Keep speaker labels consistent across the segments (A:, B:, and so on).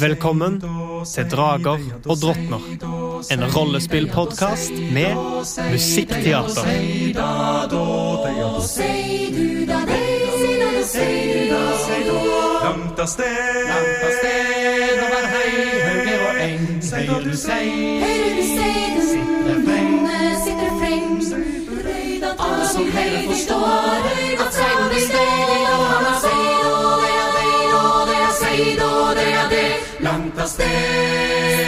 A: Velkommen til Drager og drottner. En rollespillpodkast med musikkteater.
B: Langt av sted, langt av sted over høyhauger og eng. Høyre du sei,
C: Alle som hører forstår at Seido blir stedig og han har Seido, det er det, og det er Seido, det er det.
B: langt av sted.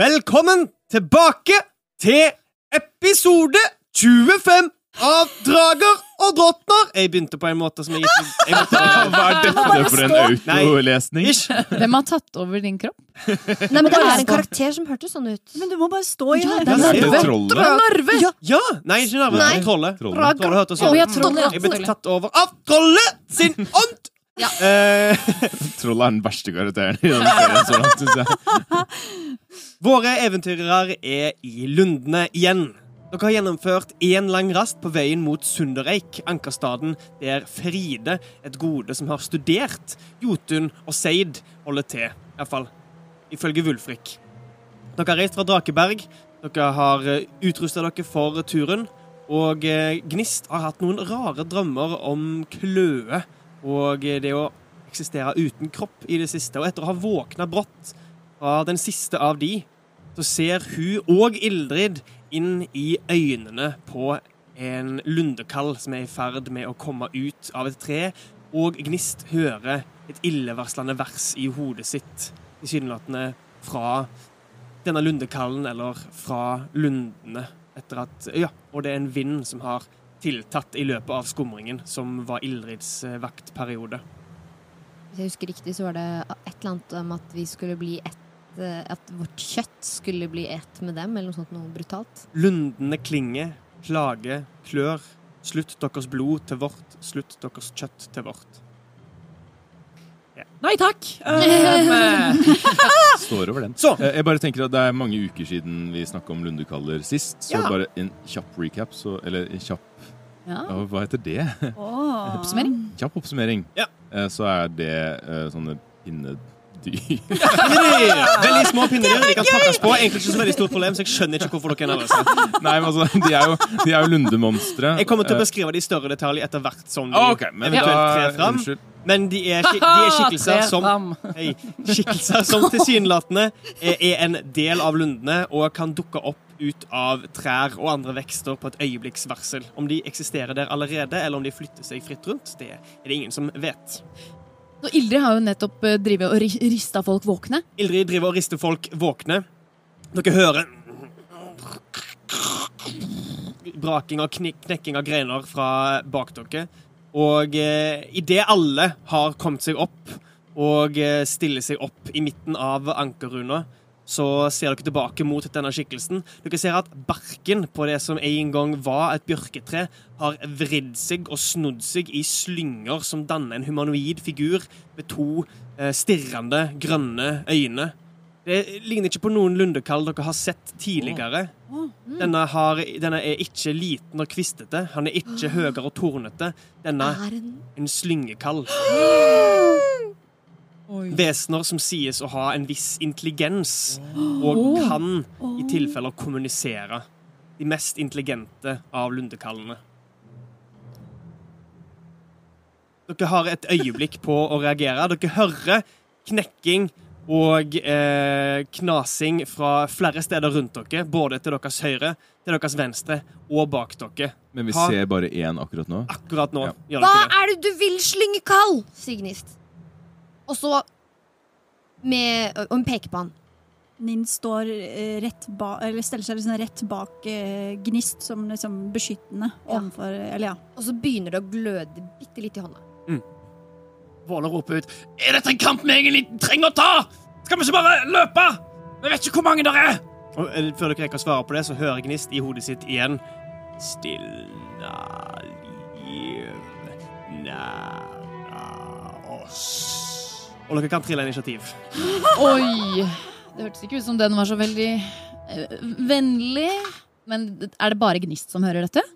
A: Velkommen tilbake til episode 25 av Drager og drottner. Jeg begynte på en måte som jeg ikke jeg måtte,
D: Hva er dette for en autolesning?
A: Ish.
E: Hvem har tatt over din kropp?
F: Nei, men det er en karakter som hørtes sånn ut.
G: Men du må bare stå i
F: Ja,
G: det.
F: det er
A: Narve.
D: Dette trollene?
E: Narve!
A: Ja, ja! Nei, ikke nervøs.
F: Nei.
A: Trollet.
D: Trollet.
A: Trollet hørtes sånn
E: Å, ja,
A: ut.
E: trollet.
A: Jeg ble tatt over av trollet sin ånd!
E: Ja.
A: Eh,
D: Trollet er den verste karakteren i denne serien. så langt, synes jeg.
A: Våre eventyrere er i lundene igjen. Dere har gjennomført én lang rast på veien mot Sundereik, ankerstaden der Fride, et gode som har studert Jotun og Seid, holder til. Iallfall ifølge Wulfrik. Dere har reist fra Drakeberg, dere har utrusta dere for turen, og eh, Gnist har hatt noen rare drømmer om kløe og eh, det å eksistere uten kropp i det siste. Og etter å ha våkna brått fra den siste av de, så ser hun og Ildrid inn i øynene på en lundekall som er i ferd med å komme ut av et tre, og Gnist hører et illevarslende vers i hodet sitt, tilsynelatende fra denne lundekallen, eller fra lundene, etter at Ja, og det er en vind som har tiltatt i løpet av skumringen, som var Ildrids eh, vaktperiode.
F: Hvis jeg husker riktig, så var det et eller annet om at vi skulle bli ett eh, At vårt kjøtt skulle bli ett med dem, eller noe sånt noe brutalt.
A: Lundene klinger, klage, klør. Slutt deres blod til vårt, slutt deres kjøtt til vårt.
E: Nei takk! Um,
D: Står over den.
A: Så,
D: Eh, Jeg bare tenker at Det er mange uker siden vi snakka om lundekaller sist, så
A: Ja.
D: bare en kjapp recap. Så, eller en kjapp
E: Ja.
D: ja, Hva heter det?
G: Åh.
E: Oppsummering?
D: Kjapp oppsummering.
A: Ja.
D: Eh, Så er det eh, sånne pinnedyr
A: pinnedyr! Veldig små pinnedyr. De kan pakkes på. Egentlig ikke så veldig stort problem, så jeg skjønner ikke hvorfor dere er nervøse.
D: Nei, men altså, de er jo, de er jo lundemonstre.
A: Jeg kommer til å
D: Eh,
A: beskrive de i større detalj etter hvert som de
D: ah, ok, men
A: eventuelt
D: da-
A: trer fram.
D: Unnskyld.
A: Men de er, skik de er skikkelser
E: Tre
A: som
E: fram.
A: Hei. Skikkelser som tilsynelatende er er en del av lundene og kan dukke opp ut av trær og andre vekster på et øyeblikks varsel. Om de eksisterer der allerede, eller om de flytter seg fritt rundt, det er det ingen som vet.
E: Så Ildrid har jo nettopp eh, drevet og ri- rista folk våkne.
A: Ildrid driver og rister folk våkne. Dere hører Braking og knik knekking av greiner fra bak dere. Og eh, idet alle har kommet seg opp og eh, stiller seg opp i midten av ankerrunda, så ser dere tilbake mot denne skikkelsen. Dere ser at barken på det som en gang var et bjørketre, har vridd seg og snudd seg i slynger som danner en humanoid figur med to eh, stirrende, grønne øyne. Det ligner ikke på noen lundekall dere har sett tidligere. Denne, har, denne er ikke liten og kvistete. Han er ikke høyere og tornete. Denne
F: Er en
A: en slyngekall. Vesener som sies å ha en viss intelligens, og kan i tilfeller kommunisere. De mest intelligente av lundekallene. Dere har et øyeblikk på å reagere. Dere hører knekking og eh, knasing fra flere steder rundt dere, både til deres høyre, til deres venstre og bak dere.
D: Men vi
A: Ha-
D: ser bare én akkurat nå.
A: Akkurat nå
D: Ja.
A: gjør
F: Hva
A: dere det.
F: er det du vil, slyngekall? sier Gnist. Og så med Og hun peker på han.
G: Ninn står eh, rett ba, eller steller seg liksom rett bak eh, Gnist som liksom beskyttende
F: Ja.
G: overfor Eller ja.
F: Og så begynner det å gløde bitte litt i hånda.
B: Våler roper ut Er dette en kamp vi egentlig trenger å ta? Skal vi ikke bare løpe?
A: Vi vet ikke hvor mange der er! Og eh, før dere rekker å svare på det, så hører Gnist i hodet sitt igjen. Stilna liv næra oss. Og dere kan trille initiativ.
E: Oi! Det hørtes ikke ut som den var så veldig eh, vennlig. Men er det bare Gnist som hører dette?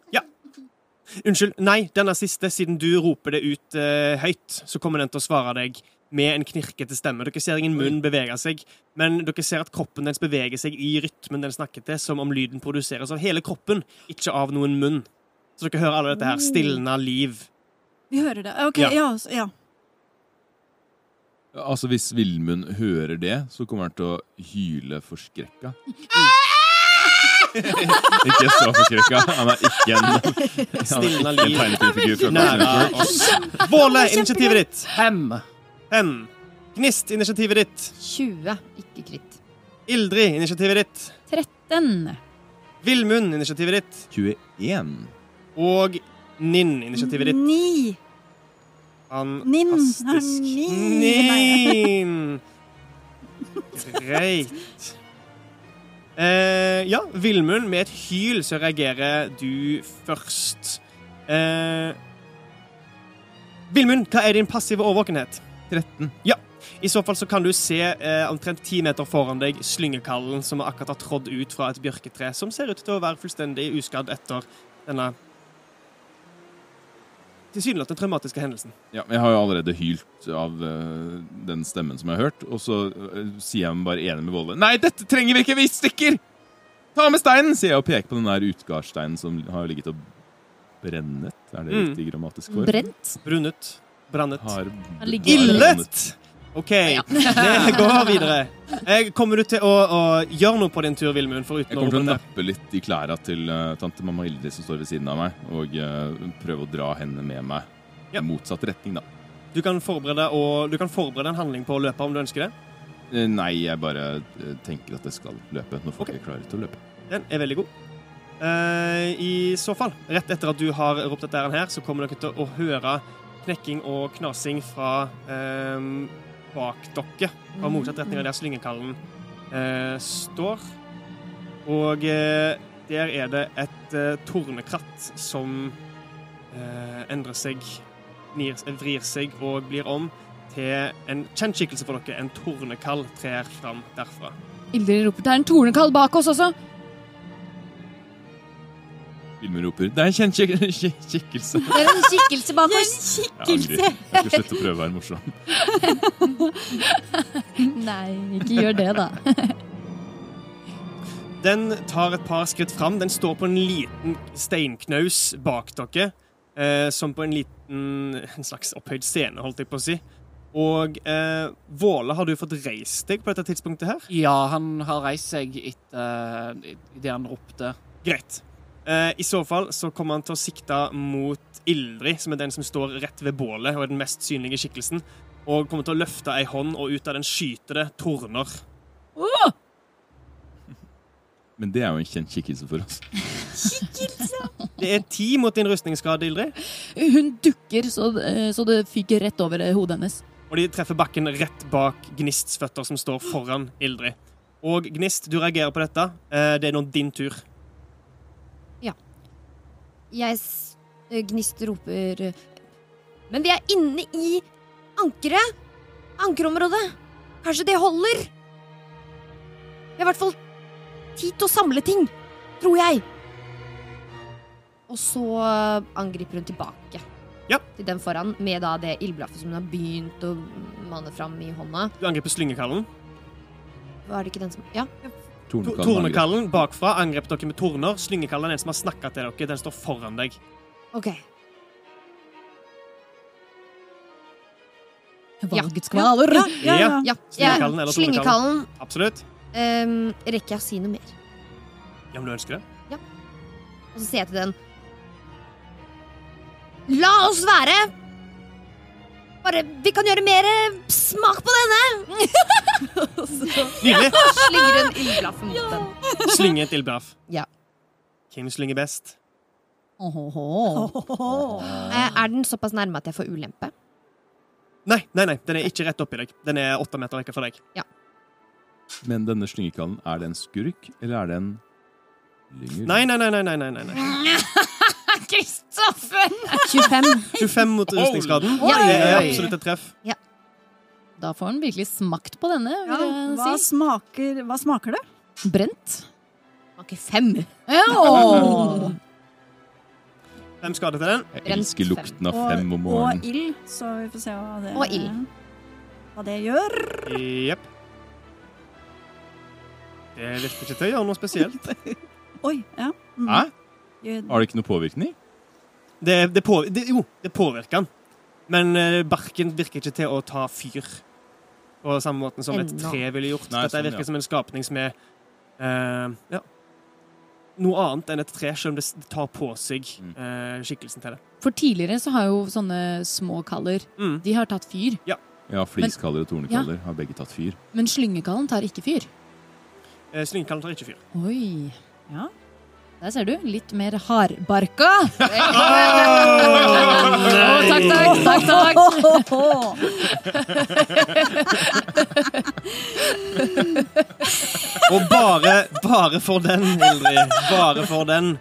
A: Unnskyld, nei, den er siste. Siden du roper det ut eh, høyt, så kommer den til å svare deg med en knirkete stemme. Dere ser ingen munn bevege seg, men dere ser at kroppen dens beveger seg i rytmen den snakker til, som om lyden produseres av hele kroppen, ikke av noen munn. Så dere hører alle dette her. Stilna liv.
G: Vi hører det. Ok,
A: Ja.
G: ja. s- ja.
D: Altså, Hvis Villmund hører det, så kommer han til å hyle forskrekka. ikke så forskrekka. Han er ikke en, han er
A: Stilna
D: ikke en
A: liv
D: tegnefilmfigur fra
A: nære
D: Clockwork Orange.
A: oss. Våle, initiativet ditt.
B: Hem.
A: Hen. Gnist, initiativet ditt.
F: 20, ikke kritt.
A: Ildrid, initiativet ditt.
E: 13.
A: Villmund, initiativet ditt.
D: 21.
A: Og Ninn, initiativet ditt.
G: Ni. Ninn. Har
A: Fantastisk.
G: ni-
A: Ninn! Greit. Eh, ja, Villmund, med et hyl så reagerer du først. Eh, Villmund, hva er din passive årvåkenhet?
D: 13.
A: I så fall så kan du se eh, omtrent ti meter foran deg slyngekallen som akkurat har trådd ut fra et bjørketre, som ser ut til å være fullstendig uskadd etter denne tilsynelatende traumatiske hendelsen.
D: Ja, men Jeg har jo allerede hylt av eh, den stemmen som jeg har hørt, og så eh, sier jeg meg bare enig med Volle. Nei, dette trenger vi ikke! Vi stikker! Ta med steinen! sier jeg og peker på den der utgardssteinen som har ligget og brennet. Er det
A: Mm.
D: riktig grammatisk form?
E: Brent.
A: Brunnet. Brannet.
D: Har
E: ligger-
A: Illet! OK, det går videre. Eh, Kommer du til å, å gjøre noe på din tur, Vilmund?
D: Jeg
A: Foruten å
D: kommer til å
A: runde?
D: nappe litt i klærne til eh, tante mamma Ildrid som står ved siden av meg, og eh, prøve å dra henne med meg
A: Ja.
D: i motsatt retning, da.
A: Du kan forberede, og, du kan forberede en handling på å løpe om du ønsker det.
D: Eh, Nei, jeg bare eh, tenker at jeg skal løpe når folk
A: Ok.
D: er klare til å løpe.
A: Den er veldig god. Eh, I så fall, rett etter at du har ropt dette her, så kommer dere til å høre knekking og knasing fra eh, bak dere. Fra motsatt retning av der slyngekallen eh, står. Og eh, der er det et eh, tornekratt som eh, endrer seg, nir, vrir seg og blir om til en kjent skikkelse for dere. En tornekall trer fram derfra.
E: Ildrid roper det er en tornekall bak oss også.
D: Vilmund roper 'Det er en kjent kik- kik- kikkelse'.
F: Det er en skikkelse bak
G: Det er
F: oss!
D: Jeg angrer.
G: skikkelse!
D: Jeg skal slutte å prøve å være morsom.
E: Nei, ikke gjør det, da.
A: Den tar et par skritt fram. Den står på en liten steinknaus bak dere. Eh, som på en liten en slags opphøyd scene, holdt jeg på å si. Og eh, Våle, har du fått reist deg på dette tidspunktet her?
B: Ja, han har reist seg etter eh, i det han ropte.
A: Greit. Eh, I så fall så kommer han til å sikte mot Ildrid, som er den som står rett ved bålet og er den mest synlige skikkelsen, og kommer til å løfte ei hånd, og ut av den skyter det torner.
D: Men det er jo en kjent kikkelse for oss.
A: Det er ti mot din rustningsskade, Ildrid,
E: Hun dukker så, eh, så det fyker rett over eh, hodet hennes.
A: og de treffer bakken rett bak Gnists føtter, som står foran Ildrid. Og Gnist, du reagerer på dette. Eh, Det er nå din tur.
F: Jeg s- eh, gnist roper eh, Men vi er inne i ankeret! Ankerområdet! Kanskje det holder? Vi har i hvert fall tid til å samle ting, tror jeg. Og så eh, angriper hun tilbake.
A: Ja.
F: Til den foran, med da det ildblaffet som hun har begynt å mane fram i hånda.
A: Du angriper slyngekallen.
F: Var det ikke den som Ja.
A: To-
D: Tornekallen angrer.
A: Tornekallen bakfra angrep dere med torner. Slyngekallen er den som har snakka til dere. Den står foran deg.
F: OK.
E: Valgskvaler.
G: Ja, ja, ja.
A: Ja.
F: Ja.
A: Slyngekallen
F: jeg-
A: eller
F: Slyngekallen.
A: Absolutt.
F: ehm, rekker jeg å si noe mer?
A: Ja, men du ønsker det?
F: Og så sier jeg til den La oss være! Bare, Vi kan gjøre mer eh, smak på denne! Og så
A: Nydelig!
F: slynger hun ildblaffe mot den.
A: Slynge til Braff.
F: Ja.
A: Hvem slynger best?
E: Åhåhå.
F: Eh, Er den såpass nærme at jeg får ulempe?
A: Nei, nei, nei, den er ikke rett oppi deg. Den er åtte meter vekk fra deg.
F: Ja.
D: Men denne slyngekallen, er det en skurk, eller er det en lynger?
A: Nei, nei, nei. nei, nei, nei, nei.
E: Kristoffer!
G: 25.
A: 25 mot rustningsskaden.
E: Oi!
A: Det er absolutt et treff.
E: Da får han virkelig smakt på denne, vil jeg
G: Hva
E: si.
G: smaker, hva smaker det?
E: Brent.
F: Smaker fem.
E: Ja, åh.
A: Fem skader til den.
D: Jeg
F: Brent
D: elsker
F: fem.
D: lukten av fem om
G: og
D: morgenen.
G: ild, så vi får se hva det,
F: Og ild.
G: Hva det gjør.
A: Jepp. Det virker ikke til å gjøre noe spesielt.
G: Oi, ja. Mm.
D: Hæ?
G: Gjør-
D: Har det ikke noe påvirkning?
A: Det, det på, det, jo, det påvirker han. Men eh, barken virker ikke til å ta fyr på samme måten som et
F: Ennå.
A: tre ville gjort.
D: Nei,
A: Dette
D: sånn,
A: virker
D: ja.
A: som en skapning som er eh, ja, noe annet enn et tre, selv om det s- tar på seg
D: Mm.
A: eh, skikkelsen til det.
E: For tidligere så har jo sånne små kaller
A: Mm.
E: De har tatt fyr.
D: Ja, fliskaller og tornekaller har begge tatt fyr.
E: Men slyngekallen tar ikke fyr.
A: Eh, Slyngkallen tar ikke fyr.
E: Oi. Ja. Der ser du. Litt mer hardbarka. Å, takk, takk, takk, takk.
A: Og bare, bare for den, Hildrid. Bare for den.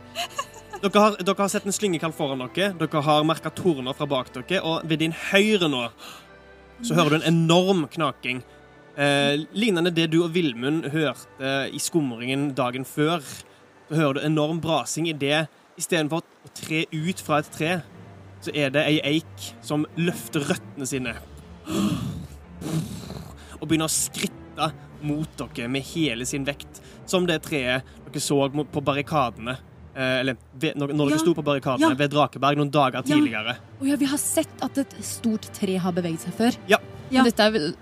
A: Dere har, dere har sett en slyngekall foran dere, dere har merka torner fra bak dere, og ved din høyre nå så hører du en enorm knaking. Eh, lignende det du og Vilmund hørte i skumringen dagen før. Så hører du enorm brasing i det. Istedenfor å tre ut fra et tre, så er det ei eik som løfter røttene sine og begynner å skritte mot dere med hele sin vekt. Som det treet dere så mot- på barrikadene. eh, Eller ved, når, når
E: Ja.
A: dere sto på barrikadene
E: Ja.
A: ved Drakeberg noen dager
E: Ja.
A: tidligere.
E: Å ja, vi har sett at et stort tre har beveget seg før.
A: Ja.
G: Ja.
E: Men dette er vel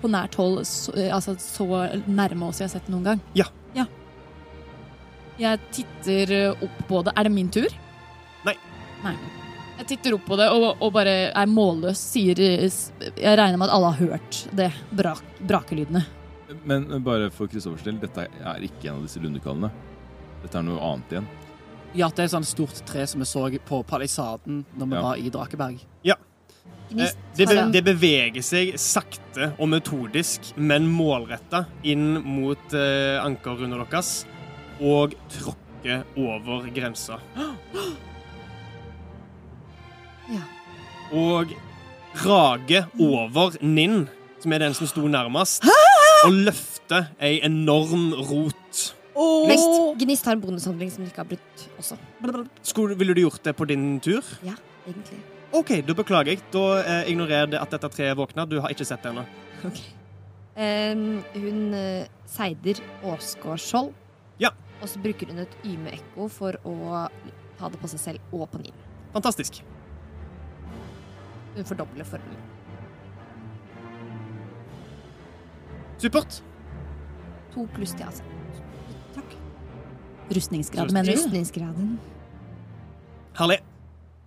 E: på nært hold så, altså, så nærme oss jeg har sett noen gang.
A: Ja.
G: Ja.
E: Jeg titter eh, opp på det. Er det min tur?
A: Nei.
E: Nei. Jeg titter opp på det og, og bare er målløs. Sier eh, s- Jeg regner med at alle har hørt det brak, brakelydene.
D: Men men bare for Kristoffers del, dette er ikke en av disse lundekallene. Dette er noe annet igjen.
H: Ja, det er et sånt stort tre som vi så på palisaden når vi
D: Ja.
H: var i Drakeberg.
A: Eh,
F: Gnist.
A: Det, be,
F: Fabian.
A: det beveger seg sakte og metodisk, men målretta inn mot eh, ankerrundet deres og tråkker over grensa.
F: Ja.
A: Og rager over Ninn, som er den som sto nærmest, og løfter ei enorm rot.
F: Gnist. Gnist har en bonushandling som ikke har brutt også,
A: Skulle, ville du gjort det på din tur?
F: egentlig.
A: OK, da beklager jeg. Da eh, ignorerer det at dette treet våkner. Du har ikke sett det ennå.
F: Ehm, hun eh, seider Åsgårdskjold.
A: Ja.
F: Og så bruker hun et yme-ekko for å ta det på seg selv og på Nin.
A: Fantastisk.
F: Hun fordobler formen.
A: Supert.
F: To pluss til, altså.
E: Rustningsgrad, mener du?
F: Rustningsgraden.
A: Herlig.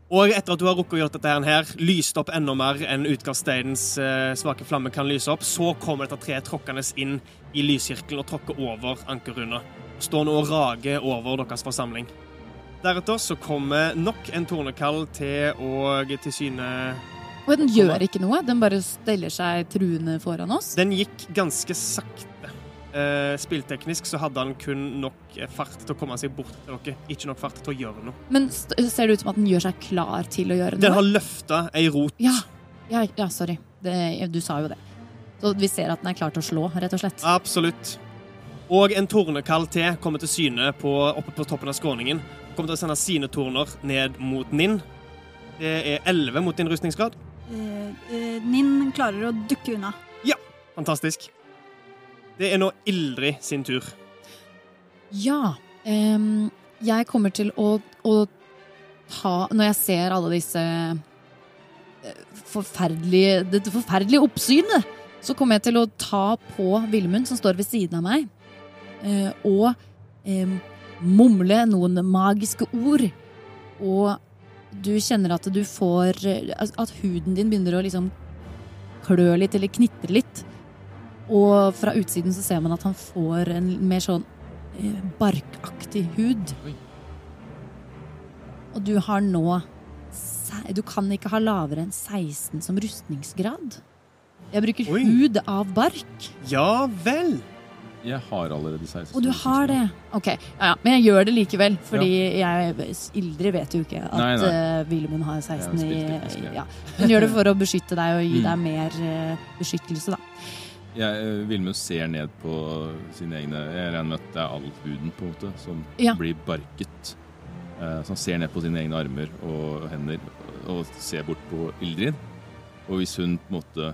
A: Og etter at du har rukket å gjøre dette her, lyst opp enda mer enn utgangssteinens eh, svake flamme kan lyse opp, så kommer dette treet tråkkende inn i lyskirkelen og tråkker over ankerrunda. Står nå og rager over deres forsamling. Deretter så kommer nok en tornekall til å til syne
E: Og den gjør ikke noe. Den bare steller seg truende foran oss.
A: Den gikk ganske sakte. Eh, spillteknisk så hadde han kun nok eh, fart til å komme seg bort til dere. Ikke nok fart til å gjøre noe.
E: Men st ser det ut som at den gjør seg klar til å gjøre
A: Den
E: noe?
A: har løfta ei rot.
E: Ja, ja, ja sorry. Det, du sa jo det. Så vi ser at den er klar til å slå, rett og slett.
A: Absolutt. Og en tornekall til kommer til syne på, oppe på toppen av skråningen. Kommer til å sende sine torner ned mot Ninn. Det er 11 mot din rustningsgrad.
G: Eh, eh, Ninn klarer å dukke unna.
A: Fantastisk. Det er nå Ildrid sin tur.
E: Ja. ehm, jeg kommer til å, å ta Når jeg ser alle disse eh, forferdelige Dette forferdelige oppsynet, så kommer jeg til å ta på Vilmund, som står ved siden av meg, eh, og ehm, mumle noen magiske ord. Og du kjenner at du får eh, At at huden din begynner å liksom klø litt, eller knitre litt. Og fra utsiden så ser man at han får en mer sånn eh, barkaktig hud.
D: Oi.
E: Og du har nå se- Du kan ikke ha lavere enn 16 som rustningsgrad. Jeg bruker
A: Oi.
E: hud av bark.
A: Ja vel.
D: Jeg har allerede 16.
E: Og du har det? Ok, ja, ja. Men jeg gjør det likevel, fordi jeg Ildrid vet jo ikke at
D: Nei, nei.
E: eh, Wilhelmund har 16 i
D: Jeg har spilt litt, jeg.
E: ja. Hun gjør det for å beskytte deg og gi
D: Mm.
E: deg mer eh, beskyttelse, da.
D: Jeg, eh, Vilmund ser ned på sine egne Jeg regner med at det er all huden på en måte som
E: Ja.
D: blir barket. Eh, Så han ser ned på sine egne armer og hender og ser bort på Ildrid. Og hvis hun på en måte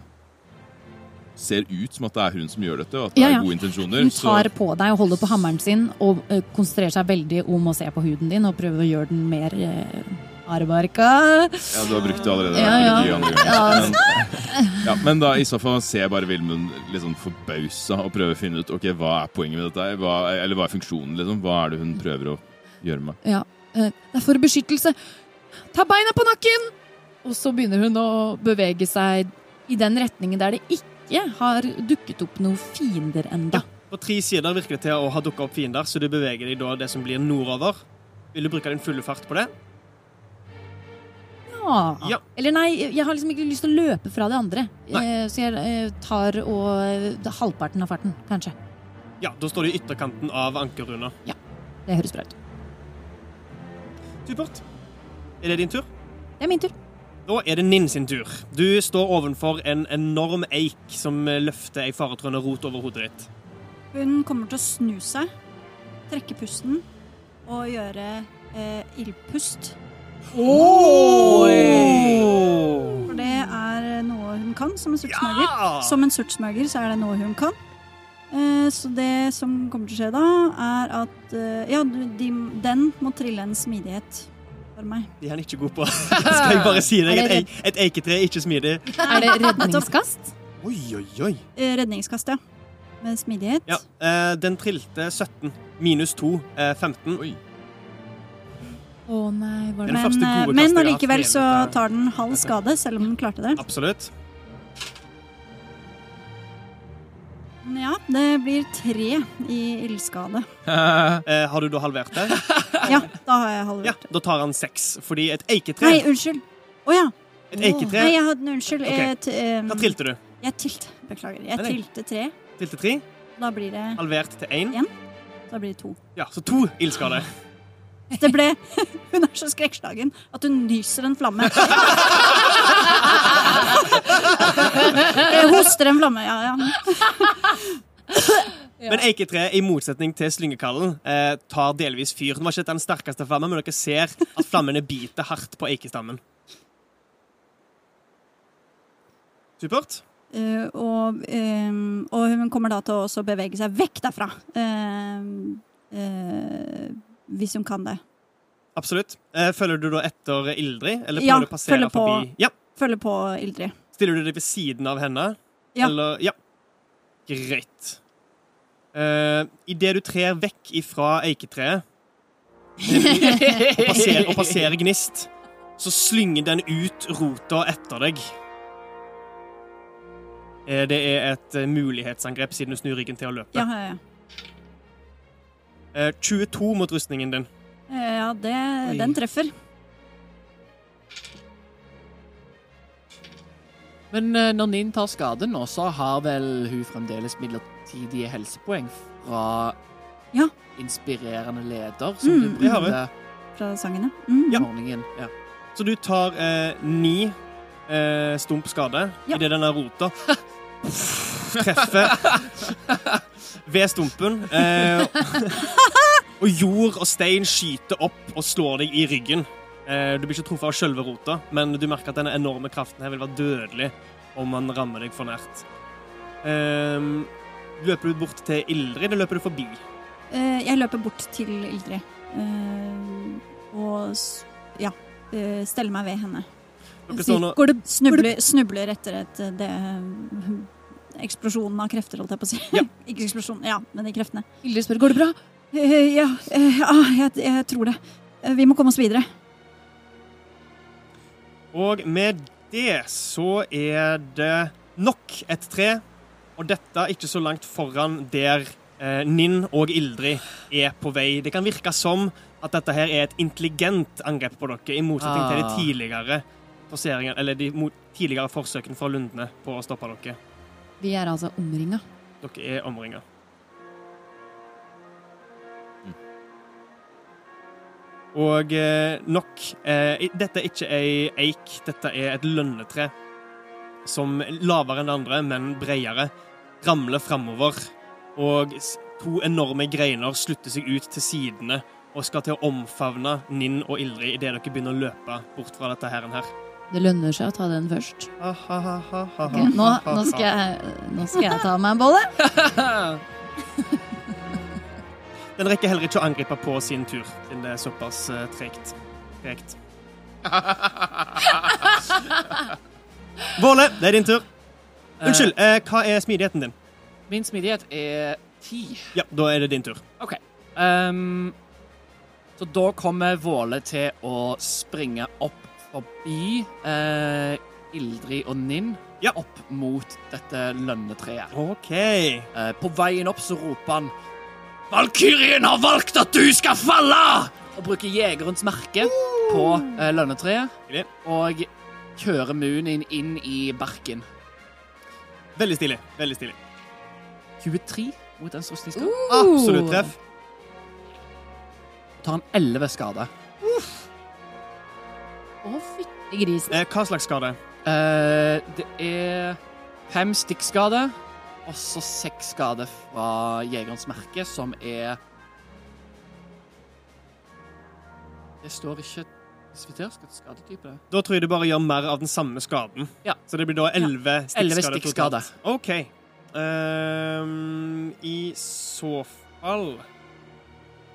D: ser ut som at det er hun som gjør dette, og at det
E: Ja, ja.
D: er gode intensjoner,
E: Hun tar på deg og holder på hammeren sin og eh, konsentrerer seg veldig om å se på huden din og prøver å gjøre den mer eh, arbarka.
D: Ja, du har brukt det allerede.
E: Ja,
D: Det er
E: ja.
D: mye andre ganger.
E: Ja. altså.
D: Men, ja, men da i så fall ser jeg bare Vilmund litt sånn forbausa og prøver å finne ut ok, hva er poenget med dette her? Hva, eller hva er funksjonen, liksom? Hva er det hun prøver å gjøre med?
E: Ja, eh, det er for beskyttelse. Ta beina på nakken! Og så begynner hun å bevege seg i den retningen der det ikke har dukket opp noen fiender enda.
A: På tre sider virker det til å ha dukka opp fiender, så du beveger deg da det som blir nordover. Vil du bruke din fulle fart på det?
E: Ja.
A: Ja.
E: Eller nei, jeg har liksom ikke lyst til å løpe fra de andre.
A: Nei.
E: Eh, Så jeg eh, tar og eh, halvparten av farten, kanskje.
A: Ja, da står du i ytterkanten av ankerrunda.
E: Det høres bra ut.
A: Supert. Er det din tur?
E: Det er min tur.
A: Da er det Ninn sin tur. Du står ovenfor en enorm eik som løfter ei faretrøende rot over hodet ditt.
G: Hun kommer til å snu seg, trekke pusten og gjøre eh, ildpust.
A: Oi!
G: For det er noe hun kan som en surtsmørger.
A: Ja!
G: Som en surtsmørger så er det noe hun kan. Eh, så det som kommer til å skje da, er at eh, Ja, du, de, den må trille en smidighet for meg.
A: Det er han ikke god på. Skal jeg bare si deg
E: Er
A: et,
E: det
A: eik- et eiketre er ikke smidig.
E: Er det redningskast?
A: Oi, oi, oi.
G: Eh, redningskast, ja. Med smidighet.
A: Ja, eh, den trilte 17. Minus 2, eh, 15.
D: Oi.
E: Å nei, var
A: Den
E: det
A: Men-
G: Men,
A: første
G: eh,
A: gode kastet jeg
G: men
A: har
G: allikevel
A: hatt
G: så
A: hele dette-
G: tar den halv skade, selv om den klarte det.
A: Absolutt.
G: Ja, det blir tre i ildskade.
A: Eh, har du da halvert det?
G: Ja, da har jeg
A: Ja,
G: halvert.
A: da tar han seks, fordi et eiketre
G: Nei, unnskyld. Å ja.
A: Et eiketre
G: Nei, jeg hadde unnskyld.
A: Ok.
G: Jeg, t- em,
A: Da trilte du.
G: jeg trilte. Beklager. Jeg
A: Nei, nei.
G: trilte tre.
A: Trilte tre,
G: Da blir det,
A: halvert til én.
G: Ja. da blir det to.
A: Ja, så to ildskader.
G: Det ble Hun er så skrekkslagen at hun nyser en flamme. Jeg hoster en flamme, ja. ja.
A: Men eiketreet, i motsetning til slyngekallen, eh, tar delvis fyr. Den var ikke den sterkeste flammen, men dere ser at flammene biter hardt på eikestammen. Supert.
G: Eh, og, ehm, og hun kommer da til å også bevege seg vekk derfra. Ehm, eh, hvis hun kan det.
A: Absolutt. Eh, følger du da etter Ildrid? Eller
G: Ja,
A: prøver du å passere
G: følger på.
A: forbi? Ja.
G: Følge på, Ildrid.
A: Stiller du deg ved siden av henne?
G: Ja.
A: Eller, ja. Greit. Uh, Idet du trer vekk ifra eiketreet og passerer, og passerer gnist, så slynger den ut rota etter deg. Eh, Det er et eh, mulighetsangrep siden du snur ryggen til å løpe.
G: Ja, ja, ja.
A: Eh, 22 mot rustningen din.
G: Eh, ja
A: Oi.
G: det, den treffer.
H: Men eh, når Nin tar skade nå, så har vel hun fremdeles midlertidige helsepoeng fra
G: Ja.
H: inspirerende leder, som du
G: Mm,
A: det har vi.
H: brukte
G: fra sangen, ja. Mm.
H: i morgenen. Ja.
A: Så du tar eh, ni eh, stump skade
G: Ja.
A: idet denne rota treffer ved stumpen. Eh, og jord og stein skyter opp og slår deg i ryggen. Eh, du blir ikke truffet av selve rota, men du merker at denne enorme kraften her vil være dødelig om han rammer deg for nært. Eh, løper du bort til Ildrid, eller løper du forbi?
G: Eh, jeg løper bort til Ildrid. eh, og s- ja, eh, steller meg ved henne.
A: Dere står nå
G: Går det, snubler, snubler etter et eh, det eh, Eksplosjonen av krefter, holdt jeg på å si.
A: Ja.
G: Ikke eksplosjonen, ja, men de kreftene.
E: Hilde spør, går det bra?
G: Eh, ja, eh, ah, jeg, jeg tror det. Eh, vi må komme oss videre.
A: Og med det så er det nok et tre. Og dette ikke så langt foran der eh, Ninn og Ildrid er på vei. Det kan virke som at dette her er et intelligent angrep på dere, i motsetning til de
H: Ah.
A: tidligere forseringene, eller de mo- tidligere forsøkene fra lundene på å stoppe dere.
E: Vi er altså omringa.
A: Dere er omringa. Og eh, nok eh, i- Dette er ikke ei eik, dette er et lønnetre. Som lavere enn det andre, men bredere, ramler framover. Og s- to enorme greiner slutter seg ut til sidene og skal til å omfavne Ninn og Ildrid idet dere begynner å løpe bort fra dette her. her.
E: Det lønner seg å ta den først.
A: Ha, ha, ha, ha, ha,
E: Ok, nå,
A: ha, ha,
E: nå, skal jeg, nå skal jeg ta meg en bolle.
A: ha. Den rekker heller ikke å angripe på sin tur, siden det er såpass eh, tregt. tregt. Våle, det er din tur. Unnskyld, eh, hva er smidigheten din?
H: Eh, Min smidighet er ti.
A: Ja, da er det din tur.
H: OK. Ehm, så da kommer Våle til å springe opp forbi eh, Ildrid og Ninn.
A: Ja.
H: Opp mot dette lønnetreet.
A: OK.
H: Eh, på veien opp så roper han Valkyrien har valgt at du skal falle! Og bruker jegerens merke på eh, lønnetreet.
A: Hyggelig.
H: Og kjører Moonin inn i barken.
A: Veldig stilig. Veldig stilig.
H: 23 mot den rustningsskade.
A: Uh. Absolutt treff.
H: Tar han 11 skade.
E: Å, fytti grisen.
A: Eh, hva slags skade?
H: Eh, det er fem stikkskade, og så seks skade fra jegerens merke, som er Det står ikke spesifikt hvilken skadetype det er.
A: Da tror jeg du bare gjør mer av den samme skaden.
H: Ja.
A: Så det blir da 11
H: 11
A: stikkskader
H: stikkskade.
A: totalt. OK. Ehm, I så fall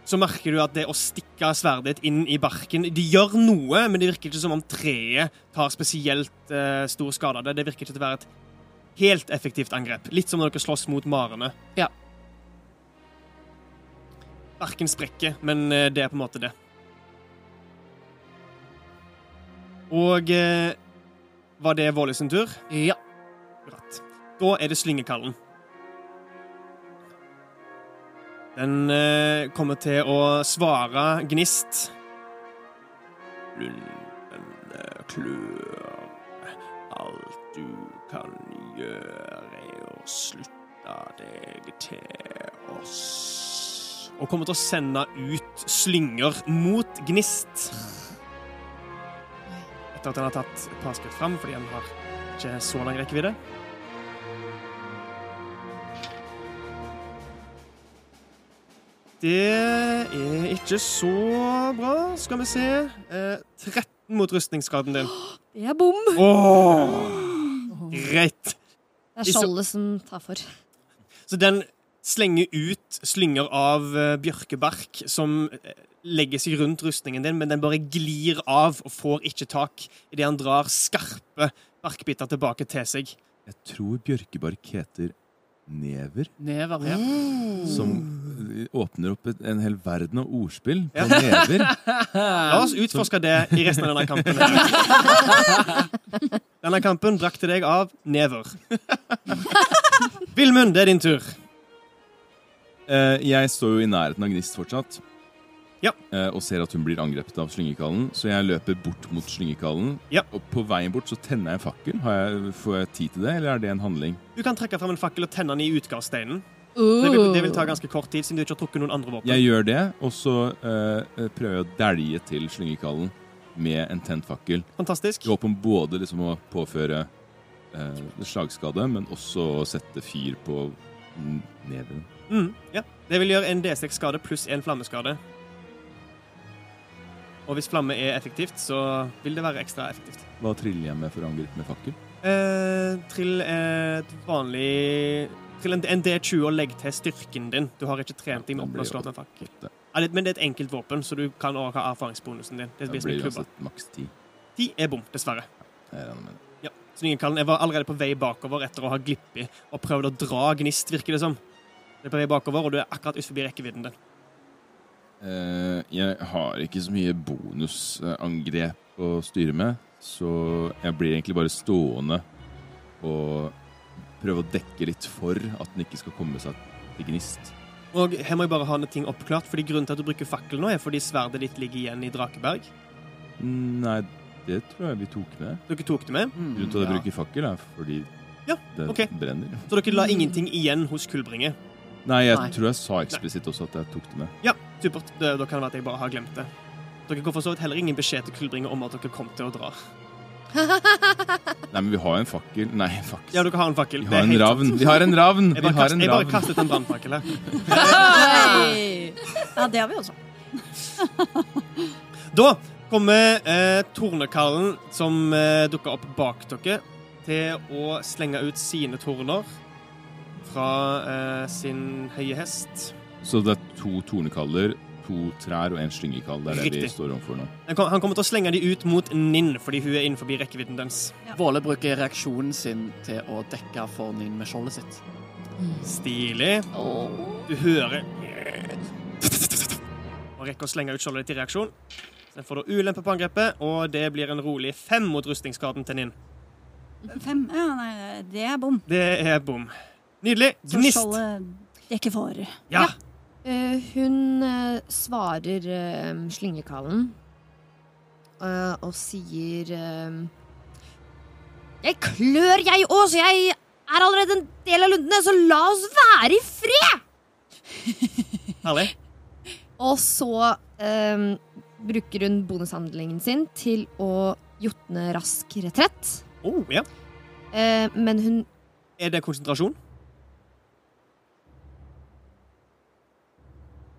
A: så merker du at det å stikke sverdet ditt inn i barken De gjør noe, men det virker ikke som om treet tar spesielt eh, stor skade av det. Det virker ikke til å være et helt effektivt angrep. Litt som når dere slåss mot marene.
H: Ja.
A: Barken sprekker, men eh, det er på en måte det. Og eh, var det Våle sin tur?
H: Ja.
A: Bratt. Da er det slyngekallen. Den eh, kommer til å svare gnist. Lundene eh, klør. Alt du kan gjøre, er å slutte deg til oss. Og kommer til å sende ut slynger mot gnist. Etter at han har tatt et par skritt fram fordi han har ikke så lang rekkevidde. Det er ikke så bra. Skal vi se eh, 13 mot rustningsskaden din.
F: Det er bom.
A: Greit.
F: Det er
A: Hvis-
F: skjoldet som tar for.
A: Så den slenger ut slynger av eh, bjørkebark som eh, legger seg rundt rustningen din, men den bare glir av og får ikke tak idet han drar skarpe barkbiter tilbake til seg.
D: Jeg tror bjørkebark heter never,
H: Never. Ja.
D: som
E: Mm.
D: åpner opp et, en hel verden av ordspill på
A: Ja.
D: never.
A: La oss utforske det i resten av denne kampen. Denne kampen brakte deg av never. Vilmund, det er din tur.
D: Eh, jeg står jo i nærheten av Gnist fortsatt.
A: Ja.
D: Eh, og ser at hun blir angrepet av slyngekallen, så jeg løper bort mot slyngekallen.
A: Ja.
D: Og på veien bort så tenner jeg en fakkel. Har jeg, får jeg tid til det, eller er det en handling?
A: Du kan trekke fram en fakkel og tenne den i utgangssteinen. Det vil,
E: Uh.
A: det vil ta ganske kort tid, siden du ikke har trukket noen andre våpen.
D: Jeg gjør det, og så eh, prøver jeg å dælje til slyngekallen med en tent fakkel.
A: Fantastisk.
D: I håp om både liksom å påføre eh, slagskade, men også å sette fyr på n- neven.
A: Mm, ja. Det vil gjøre en D6-skade pluss en flammeskade. Og hvis flamme er effektivt, så vil det være ekstra effektivt.
D: Hva triller jeg med for å angripe med fakkel?
A: Eh, trill et vanlig Trill en, en D20 og legg til styrken din. Du har ikke trent deg med
D: Den blir
A: oppblåsslått med fakkel.
D: åtte.
A: Ja, det- Men det er et enkelt våpen, så du kan også ha erfaringsbonusen din. Det
D: Det
A: blir som en
D: blir
A: klubba.
D: uansett maks ti.
A: Ti er bom, dessverre.
D: Jeg regner med det.
A: Ja. Slyngekallen jeg var allerede på vei bakover etter å ha glippet og prøvd å dra gnist, virker det som. Du er på vei bakover, og du er akkurat utenfor rekkevidden din.
D: Eh, jeg har ikke så mye bonusangrep å styre med, så jeg blir egentlig bare stående og prøve å dekke litt for at den ikke skal komme seg til gnist.
A: Og her må jeg bare ha noen ting oppklart, fordi grunnen til at du bruker fakkel nå, er fordi sverdet ditt ligger igjen i Drakeberg.
D: Mm, Nei, det tror jeg vi tok med.
A: Dere tok det med,
H: Mm,
D: Grunnen til at jeg
H: ja.
D: bruker fakkel, er fordi
A: Ja,
D: det
A: ok.
D: brenner.
A: så dere la ingenting igjen hos Kullbringe.
D: Nei, jeg
H: Nei.
D: tror jeg sa eksplisitt også at jeg tok det med.
A: Ja, supert. Det, da kan det være at jeg bare har glemt det. Dere går for så vidt heller ingen beskjed til Kullbringer om at dere kom til å dra.
D: Nei, men vi har jo en fakkel Nei, faks.
A: Ja, dere har en fakkel.
D: Vi
A: Det er
D: har en
A: helt sant.
D: ravn. Vi har en ravn.
A: Jeg
D: Vi
A: bare,
D: har
A: kast,
D: en
A: jeg bare
D: ravn.
A: kastet en brannfakkel her.
G: Ja, det har vi også.
A: Da kommer eh, tornekallen som eh, dukker opp bak dere, til å slenge ut sine torner fra eh, sin høye hest.
D: Så det er to tornekaller, to trær og en slyngekall. Det er det vi
A: Riktig.
D: står overfor nå.
A: Han kom- han kommer til å slenge de ut mot Ninn, fordi hun er innenfor rekkevidden dens.
H: Våle bruker reaksjonen sin til å dekke for Nin med skjoldet sitt.
A: Stilig. Du hører Og rekker å slenge ut skjoldet ditt i reaksjon. Så får du ulempe på angrepet, og det blir en rolig fem mot rustningsskaden til Ninn.
G: Fem? Ja, nei, det er bom.
A: Det er bom. Nydelig.
G: Så eh,
A: Gnist.
G: skjoldet dekker for.
A: Ja.
F: Eh, hun eh, svarer eh, slyngekallen eh, og sier eh, Jeg klør, jeg òg, så jeg er allerede en del av lundene, så la oss være i fred!
A: Herlig.
F: Og så eh, bruker hun bonushandlingen sin til å jotne rask retrett.
A: Oh, ja.
F: Eh, men hun
A: Er det konsentrasjon?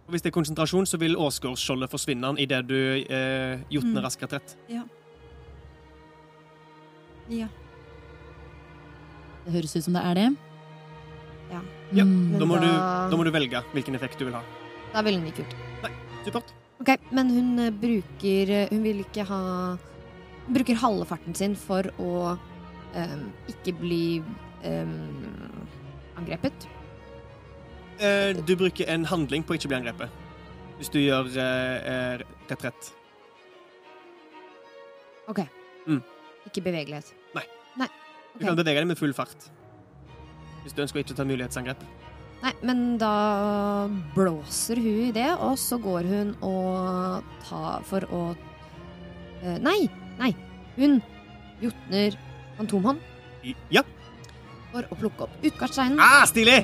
A: Og Hvis det er konsentrasjon, så vil åsgårdsskjoldet forsvinne idet du eh, jotner
G: Mm.
A: rask retrett.
G: Ja.
E: Det høres ut som det er det.
F: Ja.
A: Ja,
E: Mm.
A: Da må, du,
F: da-
A: da må du velge hvilken effekt du vil ha.
F: Da ville hun ikke gjort det.
A: Supert.
F: Ok, Men hun eh, bruker eh, Hun vil ikke ha Hun bruker halve farten sin for å ehm, ikke bli ehm, angrepet.
A: Eh, du bruker en handling på å ikke bli angrepet. Hvis du gjør eh, eh, retrett.
F: Ok.
A: Mm.
F: Ikke bevegelighet.
A: Nei.
F: Nei,
A: Du kan bevege deg med full fart. Hvis du ønsker å ikke ta mulighetsangrep.
F: Nei, men da blåser hun i det, og så går hun og tar for å eh, Nei! Nei! Hun jotner fantomhånd
A: I- Ja.
F: for å plukke opp utgangssteinen,
A: Ah, stilig!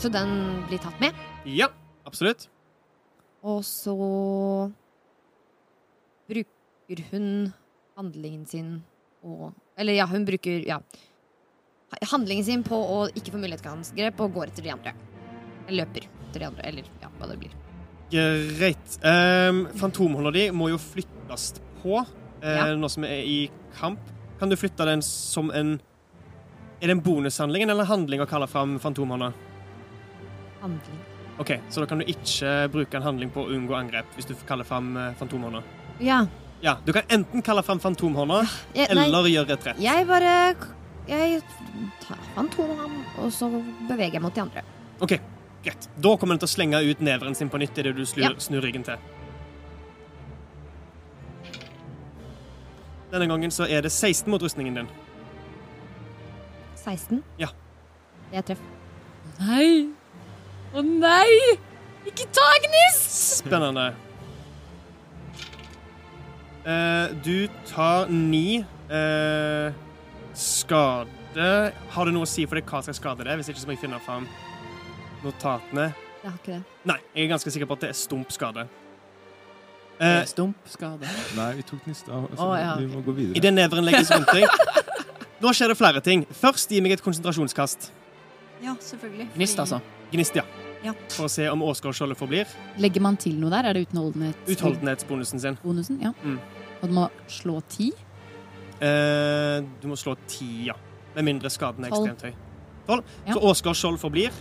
F: så den blir tatt med.
A: Ja, absolutt.
F: Og så bruker hun handlingen sin og Eller ja, hun bruker ja, ha- handlingen sin på å ikke få mulighet til angrep og går etter de andre. Eller løper etter de andre, eller ja, hva det blir.
A: Greit. Um, Fantomhånda di må jo flyttes på eh,
F: Ja.
A: nå som vi er i kamp. Kan du flytte den som en Er det en bonushandling eller en handling å kalle fram fantomhånda?
F: Handling.
A: OK, så da kan du ikke bruke en handling på å unngå angrep hvis du kaller fram eh, fantomhånda.
F: Ja.
A: Ja, du kan enten kalle fram fantomhånda
F: Jeg, nei,
A: eller gjøre retrett.
F: jeg bare Jeg tar fantomhånd, og så beveger jeg mot de andre.
A: OK, greit. Da kommer den til å slenge ut neveren sin på nytt idet du slur,
F: Ja.
A: snur ryggen til. Denne gangen så er det 16 mot rustningen din.
F: 16.
A: Ja.
F: Jeg treffer.
E: Nei! Å nei! Ikke ta gnist!
A: Spennende. Eh, du tar ni eh, skade Har det noe å si for deg hva slags skade det er? Hvis ikke så må jeg finne fram notatene.
F: Jeg har ikke det.
A: Nei, jeg er ganske sikker på at det er stump skade.
H: Eh,
A: Eh,
H: Stump skade.
D: Nei, vi tok nista. Altså,
H: Å, ja,
D: Vi må gå videre.
A: Idet neveren legges rundt deg. Nå skjer det flere ting. Først gi meg et konsentrasjonskast.
G: ja, selvfølgelig. Fordi-
H: Gnist, altså.
A: Gnist, ja.
G: Ja.
A: For å se om Åsgårdskjoldet forblir.
E: Legger man til noe der? Er det utenholdenhetsbonusen?
A: Utholdenhetsbonusen sin.
E: Ja.
A: Mm.
E: Og du må slå ti?
A: Eh, du må slå ti, ja. Med mindre skaden er
E: Tolv.
A: ekstremt høy. Tolv.
E: Ja.
A: Så Åsgårdskjold forblir,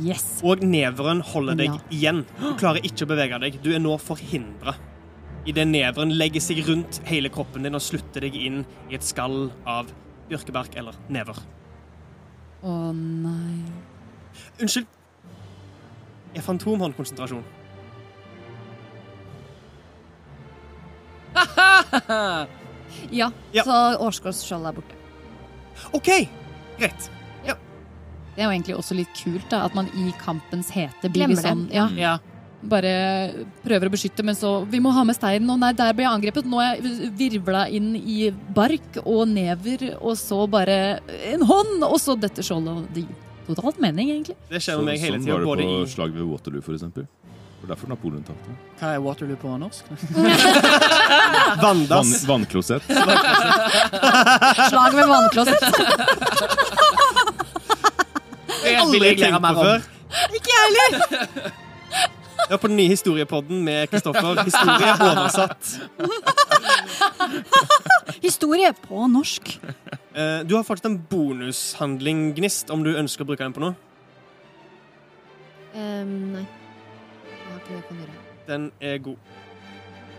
E: Yes!
A: og neveren holder deg
E: Ja.
A: igjen. Du klarer ikke å bevege deg. Du er nå forhindra. Idet neveren legger seg rundt hele kroppen din og slutter deg inn i et skall av bjørkebark eller never.
E: Å nei.
A: Unnskyld. Er fantomhåndkonsentrasjon?
F: Ja,
A: Ja.
F: Så årsgårdsskjoldet er borte.
A: OK! Greit.
E: Det er jo egentlig også litt kult, da, at man i kampens hete blir
F: Glemmer
E: litt sånn
F: det.
E: ja,
H: Ja.
E: Bare prøver å beskytte, men så Vi må ha med steinen, og nei, der ble jeg angrepet. Nå er jeg virvla inn i bark og never, og så bare en hånd, og så dette skjoldet. og Det gir totalt mening, egentlig.
A: Det skjer
D: Så,
A: med meg hele
D: sånn
A: tida.
D: var det
A: Både
D: på
A: i
D: slaget ved Waterloo, for eksempel. Det var derfor Napoleon tapte.
H: Hva er Waterloo på norsk?
D: Vann,
A: Vanndass.
D: vannklosett.
E: Slag med vannklosset.
H: Det vil
A: Aldri
H: jeg lære
A: tenkt på
H: mer om.
A: før. Det var på den nye historiepodden med Kristoffer. Historie oversatt.
G: Historie på norsk.
A: Eh, Du har faktisk en bonushandling, Gnist, om du ønsker å bruke den på noe.
F: Ehm, nei. Jeg har ikke det jeg kan gjøre.
A: Den er god.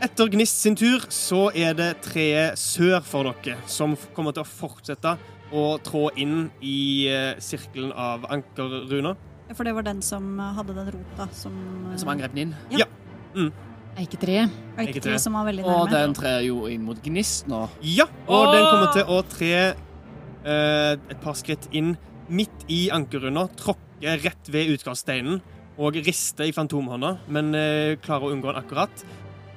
A: Etter Gnist sin tur så er det treet sør for dere, som f- kommer til å fortsette å trå inn i eh, sirkelen av ankerruner.
G: For det var den som hadde den rota som
H: Den Som angrep Ninn.
E: Eiketre.
G: Eiketre
A: Eiketre.
G: eh, som var veldig
H: Og
G: nærme.
H: den trer jo inn mot Gnist nå.
A: Ja, og
H: Åh!
A: den kommer til å tre eh, et par skritt inn midt i ankerrunder, tråkke rett ved utgangssteinen og riste i fantomhånda, men eh, klarer å unngå den akkurat.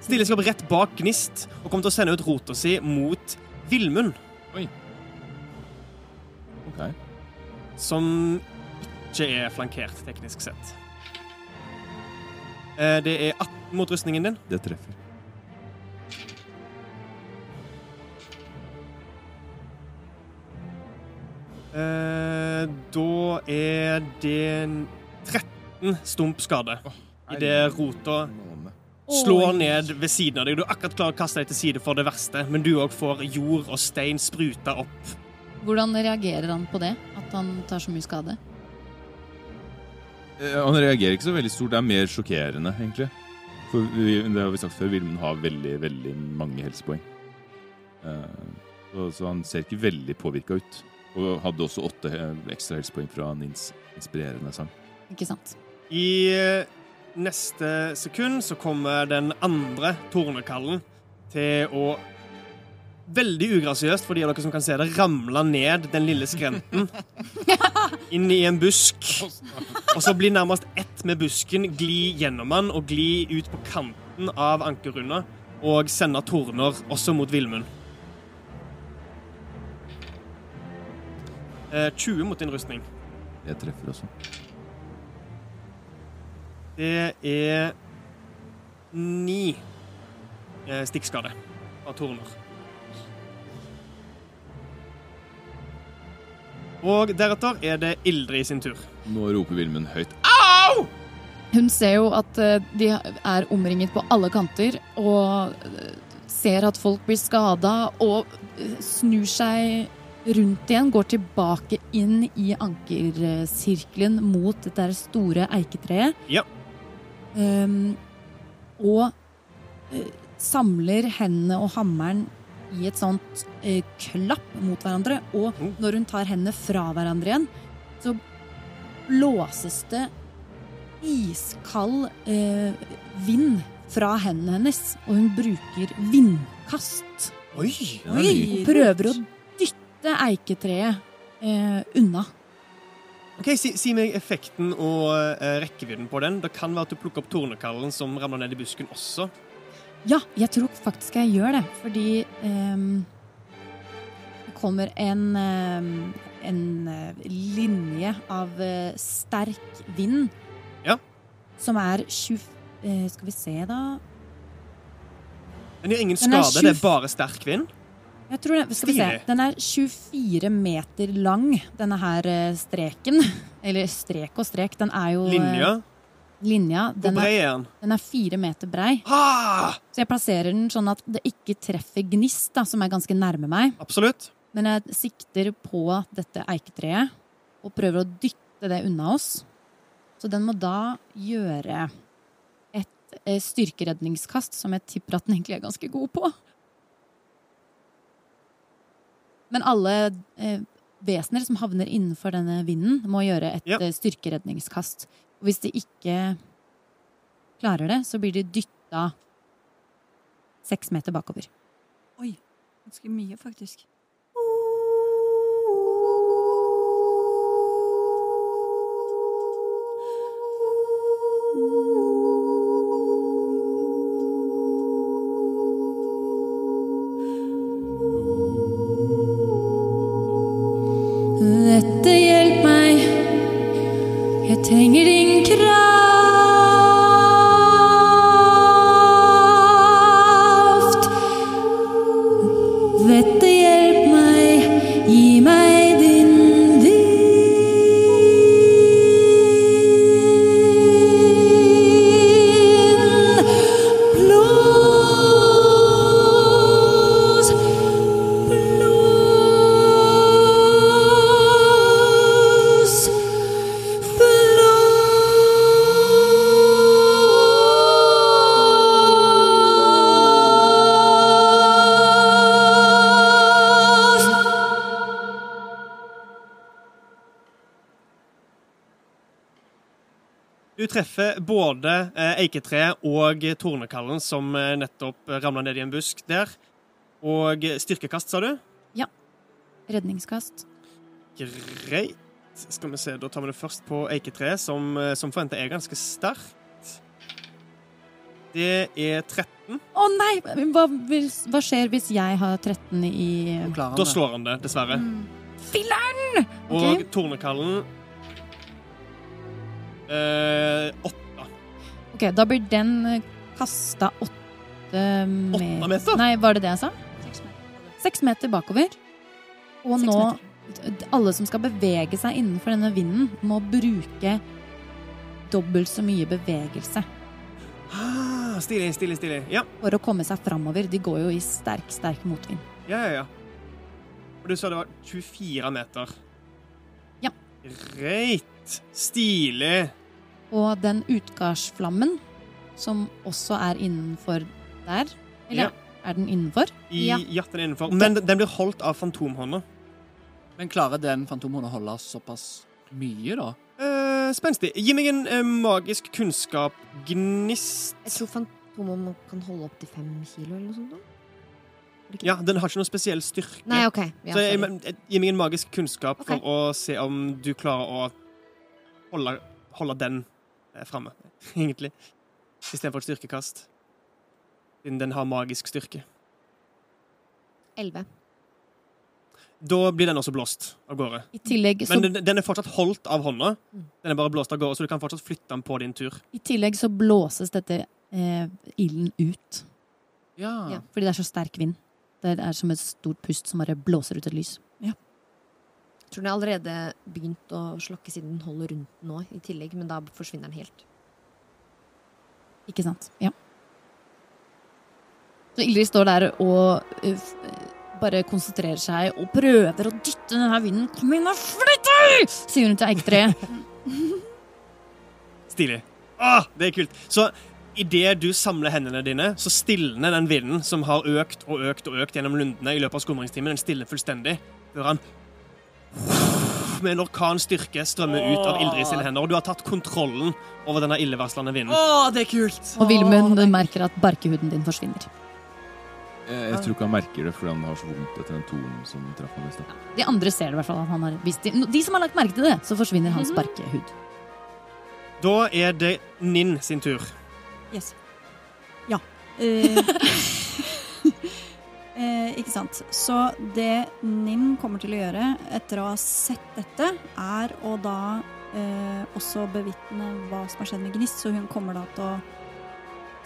A: Stiller seg opp rett bak Gnist og kommer til å sende ut rota si mot Villmund.
D: Ok.
A: som ikke er flankert, teknisk sett. Eh, Det er 18 mot rustningen din.
D: Det treffer.
A: Eh, Da er det en 13 stump skade. I det rota Slår ned ved siden av deg. Du er akkurat klar å kaste deg til side for det verste, men du òg får jord og stein spruta opp.
E: Hvordan reagerer han på det? At han tar så mye skade?
D: Eh, Han reagerer ikke så veldig stort. Det er mer sjokkerende, egentlig. For vi, det har vi sagt før, Vilmund har veldig, veldig mange helsepoeng. Eh, og, så han ser ikke veldig påvirka ut. Og hadde også åtte eh, ekstra helsepoeng fra Nins inspirerende sang.
E: Ikke sant?
A: I eh, neste sekund så kommer den andre tornekallen til å Veldig ugrasiøst for de av dere som kan se det, ramle ned den lille skrenten. Inn i en busk. Og så bli nærmest ett med busken, gli gjennom den og gli ut på kanten av ankerrunda. Og sende torner også mot Villmund. Eh, 20 mot din rustning.
D: Det treffer også.
A: Det er ni eh, stikkskade av torner. Og deretter er det Ildrid sin tur.
D: Nå roper Vilmund høyt.
E: Hun ser jo at eh, de er omringet på alle kanter, og eh, ser at folk blir skada, og eh, snur seg rundt igjen, går tilbake inn i ankersirkelen mot det der store eiketreet.
A: Ja.
E: Ehm, og eh, samler hendene og hammeren i et sånt eh, klapp mot hverandre, og
A: Mm.
E: når hun tar hendene fra hverandre igjen, så blåses det iskald eh, vind fra hendene hennes, og hun bruker vindkast.
A: Oi!
D: Den er ny.
E: Og prøver å dytte eiketreet eh, unna.
A: Ok, si, si meg effekten og eh, rekkevidden på den. Det kan være at du plukker opp tornekallen som ramler ned i busken også.
E: Ja, jeg tror faktisk jeg gjør det, fordi ehm, det kommer en, ehm, en eh, linje av eh, sterk vind.
A: Ja.
E: Som er 20 eh, Skal vi se, da.
A: Den gjør ingen
E: Den er
A: skade, det er
E: tjuef-
A: bare sterk vind.
E: Jeg tror det, skal vi se.
A: Stilig.
E: Den er 24 meter lang, denne her eh, streken. Eller strek og strek. Den er jo eh,
A: Linja.
E: linja.
A: Hvor
E: Den er,
A: bred er den?
E: den er fire meter brei.
A: Ah!
E: Så jeg plasserer den sånn at det ikke treffer gnist, da, som er ganske nærme meg.
A: Absolutt.
E: Men jeg sikter på dette eiketreet og prøver å dytte det unna oss. Så den må da gjøre et eh, styrkeredningskast, som jeg tipper at den egentlig er ganske god på. Men alle eh, vesener som havner innenfor denne vinden, må gjøre et
A: Ja.
E: eh, styrkeredningskast. Og hvis de ikke klarer det, så blir de dytta seks meter bakover.
G: Oi, ganske mye, faktisk.
E: Dette hjelp meg, jeg trenger din kraft.
A: treffer både eh, eiketreet og tornekallen som eh, nettopp ramla ned i en busk der. Og styrkekast, sa du?
E: Redningskast.
A: Greit. Skal vi se, Da tar vi det først på eiketreet, som, eh, som forventa er ganske sterkt. Det er 13.
E: Å nei! men Hva, hvis- hva skjer hvis jeg har 13 i
A: Da
H: Klarer han det?
A: slår han det, dessverre.
E: Filler'n!
A: Og
E: Ok.
A: tornekallen eh, åtte.
E: Ok, da blir den kasta åtte meter
A: Åtte meter?
E: Nei, var det det jeg sa?
G: Seks meter.
E: Seks meter bakover. Og
G: Seks
E: nå d- Alle som skal bevege seg innenfor denne vinden, må bruke dobbelt så mye bevegelse
A: Ah, stilig, stilig, stilig. Ja,
E: for å komme seg framover. De går jo i sterk, sterk motvind.
A: ja, ja. ja. Og du sa det var 24 meter.
E: Ja.
A: Greit. Stilig.
E: Og den utgardsflammen, som også er innenfor der Eller
A: Ja.
E: er den innenfor?
A: I
F: Ja.
A: hjertet innenfor. Men den blir holdt av fantomhånda.
H: Men klarer den fantomhunden å holde såpass mye, da?
A: Eh, Spenstig. Gi meg en eh, magisk kunnskap-gnist.
F: Jeg tror Fantomet kan holde opptil fem kilo eller noe sånt. da. Er det ikke
A: Ja,
F: det?
A: den har ikke noen spesiell styrke.
F: Nei, OK. Ja,
A: Så jeg,
F: sorry.
A: men, eh, gi meg en magisk kunnskap
F: Ok.
A: for å se om du klarer å holde, holde den eh, framme, egentlig. Istedenfor et styrkekast. Siden den har magisk styrke.
F: Elleve.
A: Da blir den også blåst av gårde.
E: I tillegg, så,
A: Men den, den er fortsatt holdt av hånda.
F: Mm.
A: Den er bare blåst av gårde, så du kan fortsatt flytte den på din tur.
E: i tillegg så blåses dette eh, ilden ut.
H: Ja.
F: Ja.
E: Fordi det er så sterk vind. Det er som et stort pust som bare blåser ut et lys.
F: Jeg tror den har allerede begynt å slokke siden den holder rundt nå i tillegg, men da forsvinner den helt.
E: Ikke sant? Ja. Så Ingrid står der og eh, f- bare konsentrerer seg og prøver å dytte denne vinden. Kom inn og flytt deg! sier hun til eiketreet.
A: Stilig. Åh, det er kult. Så idet du samler hendene dine, så stilner den vinden som har økt og økt og økt gjennom lundene i løpet av skumringstimen, den stilner fullstendig før han med en orkan styrke strømmer ut av Ildrid sine hender, og du har tatt kontrollen over denne illevarslende vinden.
H: det er kult!
E: Og Vilmund merker at barkehuden din forsvinner.
D: Jeg, Eh, jeg tror ikke han merker det fordi han har så vondt etter den tornen som traff ham i stad.
E: De andre ser det i hvert fall. at Han har, hvis de, no, de som har lagt merke til det, så forsvinner hans barkehud.
A: Da er det Ninn sin tur.
G: Yes. Ja. Eh, eh, ikke sant. Så det Nim kommer til å gjøre etter å ha sett dette, er å da eh, også bevitne hva som har skjedd med Gnist, så hun kommer da til å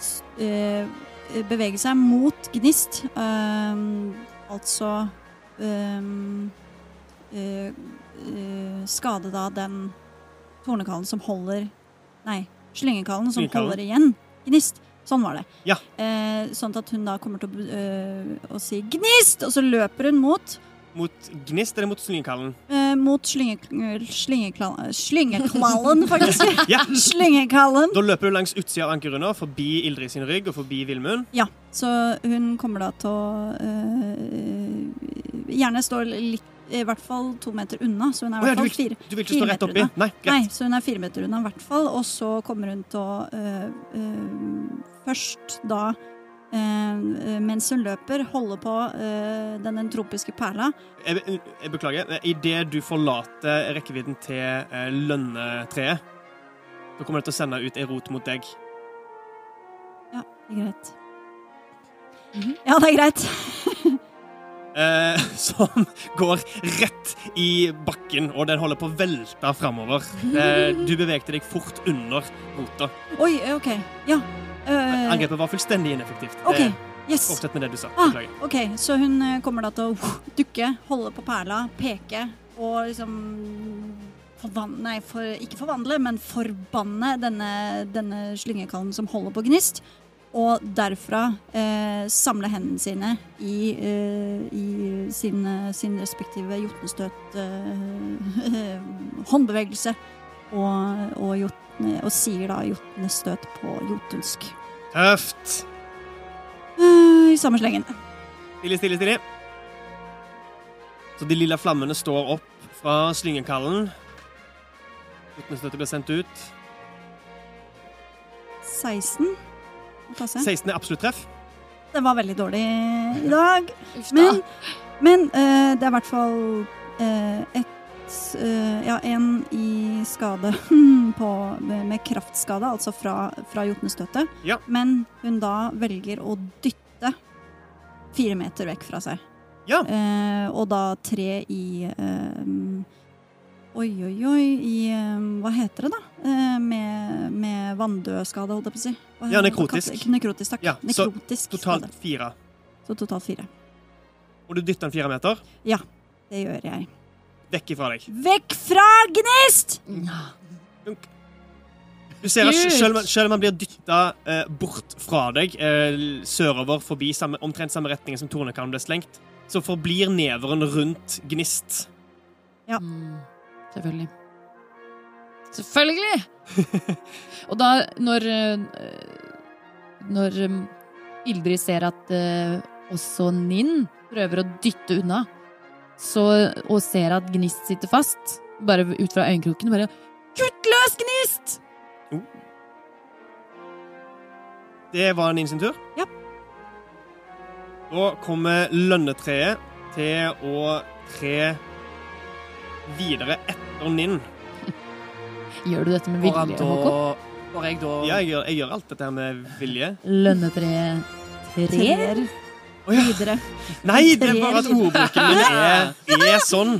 G: s- eh, bevege seg mot Gnist. Ehm, altså ehm, eh, eh, skade da den tornekallen som holder Nei, slyngekallen som
A: Slyngekallen.
G: holder igjen Gnist. Sånn var det.
A: Ja.
G: Eh, sånn at hun da kommer til å, eh, å si 'Gnist!', og så løper hun mot
A: Mot Gnist eller mot Slyngkallen?
G: eh, Mot slynge, slyngekla- slyngekallen, faktisk.
A: Ja!
G: slyngekallen.
A: Da løper du langs utsida av ankerrunda, forbi Ildrid sin rygg og forbi Villmund.
G: Ja, så hun kommer da til å eh, Gjerne stå litt I hvert fall to meter unna, så hun er
A: Å
G: i
A: ja,
G: hvert
A: du
G: fall fire.
A: Du vil ikke stå
G: Fire
A: rett
G: meter
A: oppi?
G: unna.
A: Nei, greit.
G: Nei, så hun er fire meter unna i hvert fall, og så kommer hun til å øh, øh, først da øh, mens hun løper, holde på øh, den entropiske perla.
A: Jeg, be- jeg beklager. Idet du forlater rekkevidden til eh, lønnetreet, så kommer det til å sende ut ei rot mot deg.
G: Ja, det er greit.
A: Mhm.
G: Ja, det er greit.
A: Eh, som går rett i bakken, og den holder på å velte framover. Eh, du bevegte deg fort under rota.
G: Oi, eh, OK. Ja. øh,
A: Angrepet var fullstendig ineffektivt.
G: OK.
A: Eh,
G: Yes.
A: Fortsett med det du sa.
G: Ah,
A: Beklager.
G: OK, så hun øh, kommer da til å uh, dukke, holde på perla, peke og liksom forvandle, Nei, for, ikke forvandle, men forbanne denne, denne slyngekallen som holder på gnist. Og derfra eh, samle hendene sine i, eh, i sin, eh, sin respektive jotnestøt eh, håndbevegelse. Og, og, jotne, og sier da jotnestøt på jotunsk.
A: Tøft!
G: Eh, I samme slengen.
A: Stille, stille, stille. Så de lilla flammene står opp fra slyngekallen. Utenstøtet blir sendt ut.
G: 16. Må passe.
A: 16 er absolutt treff.
G: Det var veldig dårlig i dag.
E: Uff da.
G: Men, men eh, det er i hvert fall eh, ett eh, Ja, én i skade på, med kraftskade, altså fra, fra jotnestøtet.
A: Ja.
G: Men hun da velger å dytte fire meter vekk fra seg.
A: Ja.
G: Eh, og da tre i eh, Oi, oi, oi i eh, Hva heter det, da? Eh, med med vanndødskade, holdt jeg på å si. Hva
A: Ja,
G: heter det?
A: nekrotisk.
G: Nekrotisk, takk.
A: Ja, så
G: nekrotisk
A: Totalt
G: skade.
A: fire.
G: Så totalt fire.
A: Og du dytter den fire meter
G: Det gjør jeg.
A: vekk ifra deg.
G: Vekk fra gnist!
A: Dunk. Du ser at
E: Gud.
A: selv, om- selv om han blir dytta eh, bort fra deg, eh, sørover forbi samme, omtrent samme retning som tornekannen ble slengt, så forblir neveren rundt gnist.
E: Mm, selvfølgelig. Selvfølgelig! Og da, når eh, Når eh, Ildrid ser at eh, også Ninn prøver å dytte unna, så, og ser at Gnist sitter fast, bare ut fra øyekroken, bare Kutt løs, Gnist!
A: Det var Nin sin tur.
G: Ja.
A: Da kommer lønnetreet til å tre videre etter Nin.
E: Gjør du dette med
H: Får han
E: vilje, Håkon?
H: da Får jeg da
A: Ja, jeg gjør, jeg gjør alt dette her med vilje.
E: Lønnetre tre?
G: Trer
A: Å ja.
G: videre.
A: Nei, det er bare at ordboken min er, er sånn.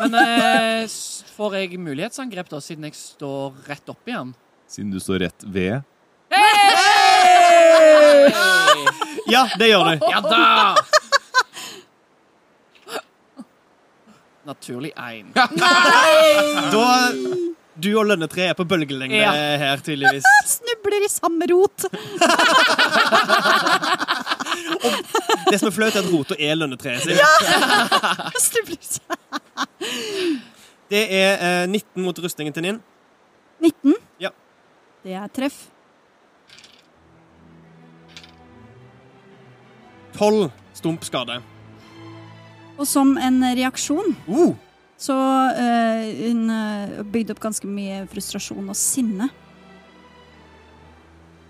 H: Men eh, s- får jeg mulighetsangrep, da, siden jeg står rett oppi han?
D: Siden du står rett ved.
A: Ja, det gjør du.
H: Ja da! Naturlig én.
A: Da Du og lønnetreet er på bølgelengde
H: Ja.
A: her, tydeligvis.
G: Snubler i samme rot.
A: Det som er flaut, er at rota er lønnetreet sitt.
G: Snubler i samme-
A: Det er eh, 19 mot rustningen til Nin.
G: 19.
A: Ja.
G: Det er treff.
A: 12 stump skade.
G: Og som en reaksjon
A: Uh,
G: så eh, hun eh, bygde opp ganske mye frustrasjon og sinne.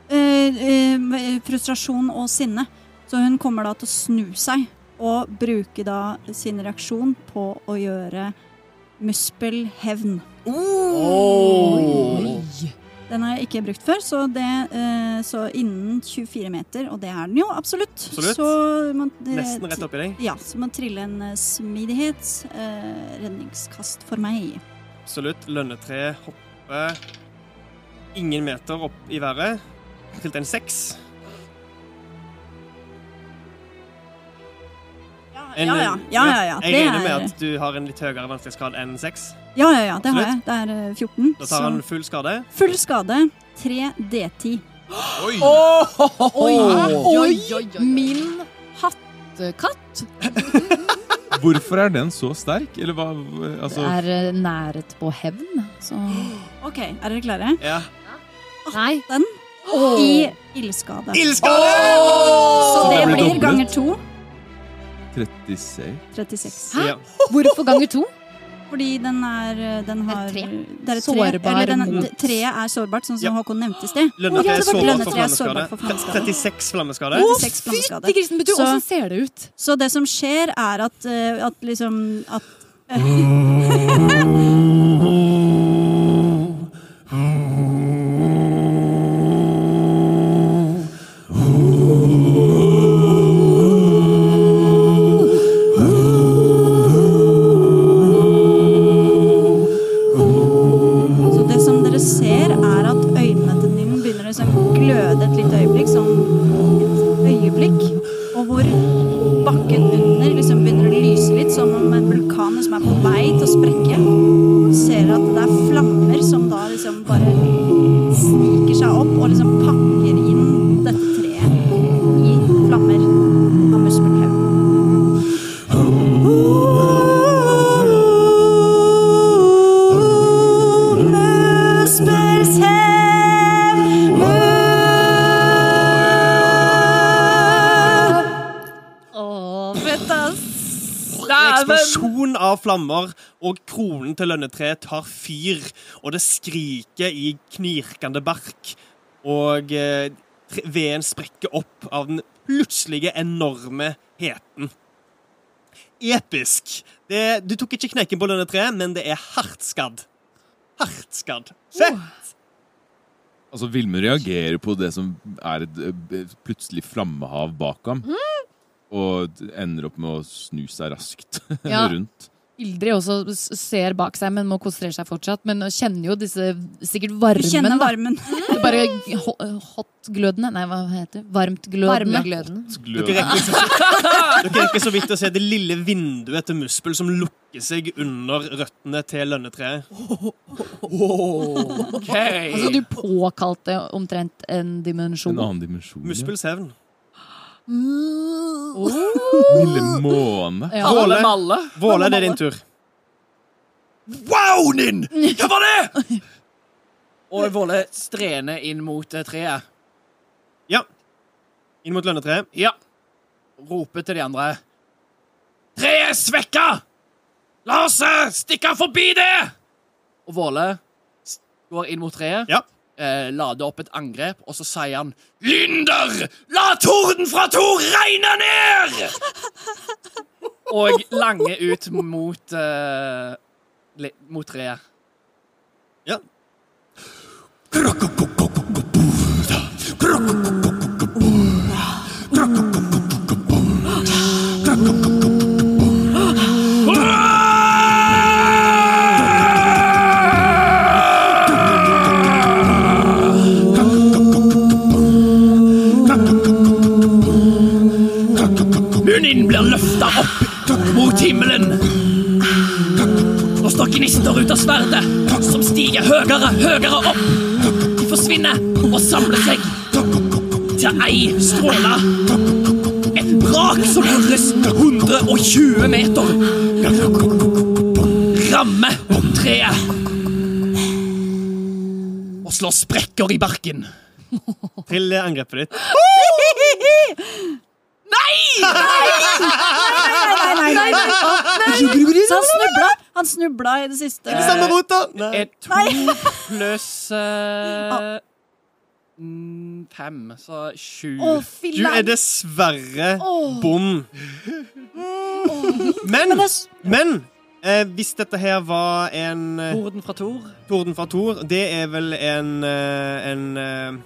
G: Eh, eh, frustrasjon og sinne. Så hun kommer da til å snu seg og bruke da sin reaksjon på å gjøre muspelhevn.
H: Oh.
G: Den har jeg ikke brukt før, så, det, eh, så innen 24 meter, og det er den jo absolutt,
A: Absolutt.
G: så må det,
A: nesten rett oppi deg.
G: Ja, så må trille en eh, smidighets eh, redningskast for meg.
A: Absolutt. Lønnetreet hopper ingen meter opp i været. Trilte en seks.
G: Ja,
A: En-
G: ja, ja. ja, ja, ja.
A: Jeg
G: det
A: regner med
G: er-
A: at du har en litt høyere vanskelighetsgrad enn seks.
G: Ja, ja, ja, det har jeg.
A: Absolutt.
G: Det er eh, 14.
A: Da tar han full skade.
G: Så full skade. 3 D10.
A: Oh!
D: Oi!
H: Oh!
E: Oi, oi,
F: oi, oi, oi.
E: min hattekatt!
D: Hvorfor er den så sterk? Eller hva Altså,
E: Det er eh, nærhet på hevn, så
G: OK, er dere klare?
A: Ja.
F: Nei.
G: Den i ildskade.
A: Ildskade!
G: Så det
D: det blir
G: blir
D: dobbelt.
G: ganger 2
D: 36
G: 36.
A: Ja.
E: Hvorfor ganger to?
G: Fordi den er eh, den har,
F: tre.
G: Det er et tre.
E: Sårbar
G: Eller den,
E: mot-
G: d- Treet er sårbart, sånn som
A: Ja.
G: Håkon nevnte i sted.
A: Lønnetreet
G: Ja,
A: er
G: det var
A: sårbart for
G: lønnetreet er
A: flammeskade.
G: sårbart for flammeskade.
A: 36 flammeskade.
G: Å, Seks flammeskade.
E: fytti grisen, men du,
G: Så-
E: åssen ser det ut?
G: Så det som skjer, er at, eh, at liksom at Så det som dere ser, er at øynene til Nim begynner å liksom gløde et lite øyeblikk, sånn et øyeblikk, og hvor bakken under liksom begynner å lyse litt, som om en vulkan som er på vei til å sprekke. Du ser at det er flammer som da liksom bare sniker seg opp og liksom pakker inn dette treet i flammer av muspelhaug.
A: En eksplosjon av flammer, og kronen til lønnetreet tar fyr, og det skriker i knirkende bark. og eh, tre- veden sprekker opp av den plutselige enorme heten. Episk. Det, du tok ikke knekken på denne treet, men det er hardt skadd. Hardt skadd. Fett!
D: Altså, Vilmund reagerer på det som er et eh, b- plutselig flammehav bak ham. Og d- ender opp med å snu seg raskt
E: Ja.
D: rundt.
E: Ildrid også s- ser bak seg, men må konsentrere seg fortsatt. Men kjenner jo disse sikkert
G: Du
E: varmen.
G: kjenner
E: da.
G: varmen.
E: Det er Bare ho- hotglødende Nei, hva heter det? Varmtglødende.
F: Varmeglødende.
A: Dere rekker, så, dere rekker så vidt å se det lille vinduet til Muspel som lukker seg under røttene til lønnetreet.
H: OK.
E: Altså, du påkalte omtrent en dimensjon.
D: En annen dimensjon. ja.
A: Muspels hevn.
D: Lille måne.
E: Ja.
H: Alle malle.
A: Våle, det er din tur.
D: Wow, Nin! Hva var det?!
H: Og Våle strener inn mot eh, treet.
A: Ja. Inn mot lønnetreet.
H: Ja. Roper til de andre. Treet er svekka! La oss eh, stikke forbi det! Og Våle s- går inn mot treet,
A: Ja.
H: eh, lader opp et angrep, og så sier han Lynder! La torden fra Tor regne ned! Og lange ut mot eh, li- mot treet.
A: ja.
H: Munnen blir løfta opp mot himmelen. Og står gnister ut av sverdet, som stiger høyere, høyere opp. De forsvinner og samler seg til ei stråle. Et brak som høres 120 meter. Rammer treet. Og slår sprekker i barken.
A: Til angrepet ditt.
G: Nei, nei, nei, nei. Så han snubla. Han snubla i det siste.
A: Ikke samme rota! Nei.
H: Et to pluss eh, mm, fem, så sju.
G: Å,
A: Du
G: filla.
A: er dessverre
G: Åh.
A: bom. Men,
G: Men det s-
A: men eh, hvis dette her var en eh,
H: Orden fra Tor.
A: Torden fra Tor, det er vel en eh, en eh,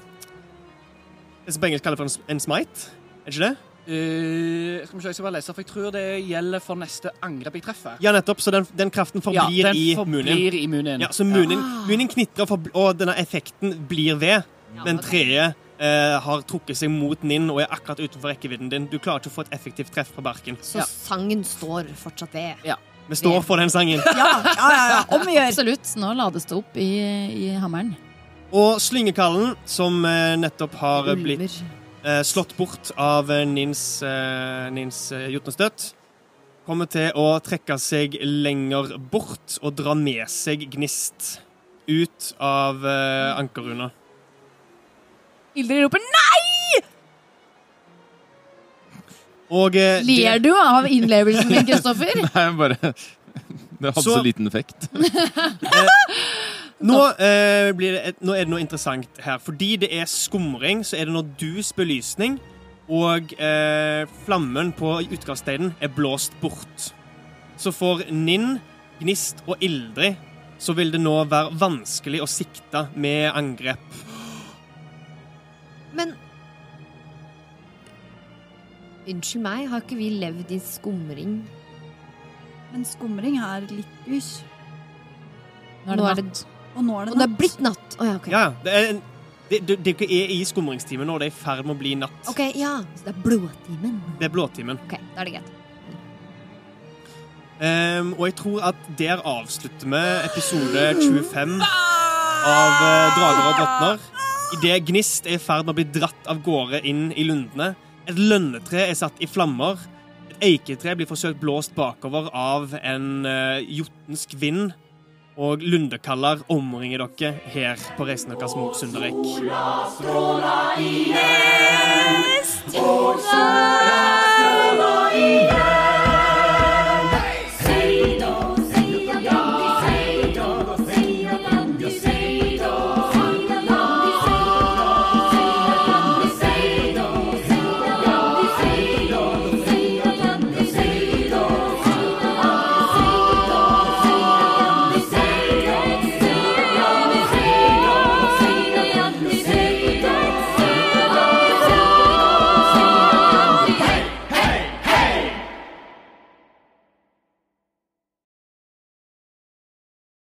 A: Det som på engelsk kalles for en s- en smite? Er det ikke det?
H: Eh, skal vi se, jeg skal bare lese, for jeg tror det gjelder for neste angrep jeg treffer.
A: Ja, nettopp. Så den, den kraften
H: Ja,
A: forblir
H: den
A: i Munin.
H: forblir i munnen.
A: Ja, så Munin, munin knitrer, og forbl- og denne effekten blir ved. Men treet eh, har trukket seg mot Ninn og er akkurat utenfor rekkevidden din. Du klarer ikke å få et effektivt treff på barken.
F: Så
H: Ja.
F: sangen står fortsatt ved.
A: Vi står for den sangen.
G: Ja, ja, ja, ja. Om å gjøre.
E: Absolutt. Nå lades det opp i, i hammeren.
A: Og slyngekallen, som eh, nettopp har eh, blitt
F: Ulver.
A: eh, slått bort av eh, Nins, eh, Nins eh, jotnestøtt, kommer til å trekke seg lenger bort og dra med seg gnist ut av eh, ankerruna.
E: Ildrid roper nei!
A: Og eh, det-
E: Ler du av innlevelsen min, Kristoffer?
D: Nei, bare Det hadde så,
A: Så-
D: liten effekt.
A: Nå, eh, blir det et, nå er det noe interessant her. Fordi det er skumring, så er det nå dus belysning, og eh, flammen på utgangssteinen er blåst bort. Så for Ninn, Gnist og Ildrid så vil det nå være vanskelig å sikte med angrep.
F: Men Unnskyld meg, har ikke vi levd i skumring?
G: Men skumring er litt lys.
F: Nå er det-
E: natt.
G: Og nå er
F: Og
G: det
F: det
G: natt.
F: er blitt natt. Å ja, ok.
A: Ja, det er, en- det, det, dere er i skumringstimen nå, og det er i ferd med å bli natt.
F: Ok, ja. Så det er blodtimen.
A: Det er blåtimen.
F: Ok, da er det greit.
A: Ehm, og jeg tror at der avslutter vi episode 25 av eh, Drager og drottner. Idet Gnist er i ferd med å bli dratt av gårde inn i lundene. Et lønnetre er satt i flammer. Et eiketre blir forsøkt blåst bakover av en eh, jotnsk vind. Og lundekaller omringer dere her på reisen deres mot Sundereik.
C: stråla i ned